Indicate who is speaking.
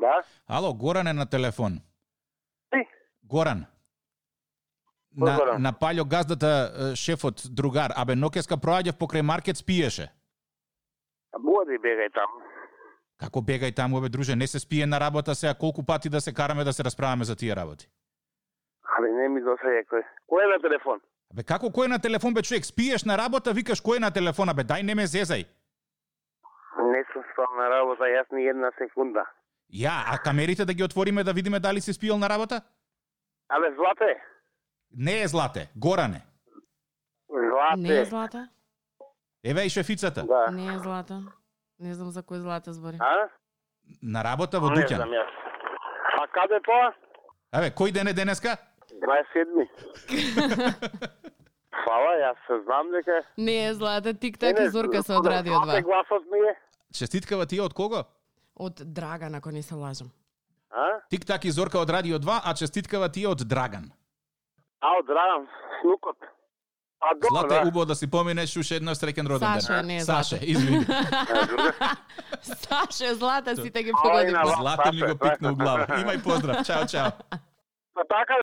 Speaker 1: Да.
Speaker 2: Ало, Горан е на телефон.
Speaker 1: Ти?
Speaker 2: Горан.
Speaker 1: Кој
Speaker 2: На,
Speaker 1: Горан?
Speaker 2: на Палјо газдата, е, шефот, другар. Абе, нокеска проаѓав покрај маркет, спиеше.
Speaker 1: Води бегај таму.
Speaker 2: Како бегај таму, бе, друже, не се спие на работа сега, колку пати да се караме да се расправаме за тие работи.
Speaker 1: Абе, не ми досаѓа кој. Кој е на телефон?
Speaker 2: Абе, како кој е на телефон, бе, човек, спиеш на работа, викаш кој е на телефон, абе, дај не ме зезај.
Speaker 1: Не сум спал на работа, јас ни една секунда.
Speaker 2: Ја, а камерите да ги отвориме да видиме дали си спиел на работа?
Speaker 1: Абе, Злате,
Speaker 2: Не е злате, Горане.
Speaker 1: Злате.
Speaker 3: Не е злата.
Speaker 2: Еве и шефицата.
Speaker 1: Да.
Speaker 3: Не е злата. Не знам за кој злата збори.
Speaker 1: А?
Speaker 2: На работа во
Speaker 1: Не знам
Speaker 2: Дуќан.
Speaker 1: јас. А каде тоа?
Speaker 2: Абе, кој ден е денеска?
Speaker 1: 27. Фала, јас се знам дека...
Speaker 3: Не е злата, тик
Speaker 1: Не,
Speaker 3: так
Speaker 1: не,
Speaker 3: и зорка се
Speaker 1: од
Speaker 3: од радио
Speaker 1: Злате
Speaker 3: 2.
Speaker 1: гласот ми е.
Speaker 2: Честиткава ти е од кого?
Speaker 3: Од Драган, ако не се лажам.
Speaker 1: А?
Speaker 2: Тик так и Зорка од Радио 2, а честиткава ти е од Драган.
Speaker 1: А, одравам, снукот. А, добро,
Speaker 2: Злате,
Speaker 1: да.
Speaker 2: убаво да си поминеш уште еднаш среќен роден ден.
Speaker 3: Саше, не е
Speaker 2: Саше, извини.
Speaker 3: Саше, злата, сите ги
Speaker 1: Ај,
Speaker 3: погоди.
Speaker 1: на вас,
Speaker 2: Злате ми
Speaker 1: Саше,
Speaker 2: го пикна у глава. Имај поздрав. Чао, чао.
Speaker 1: Па така,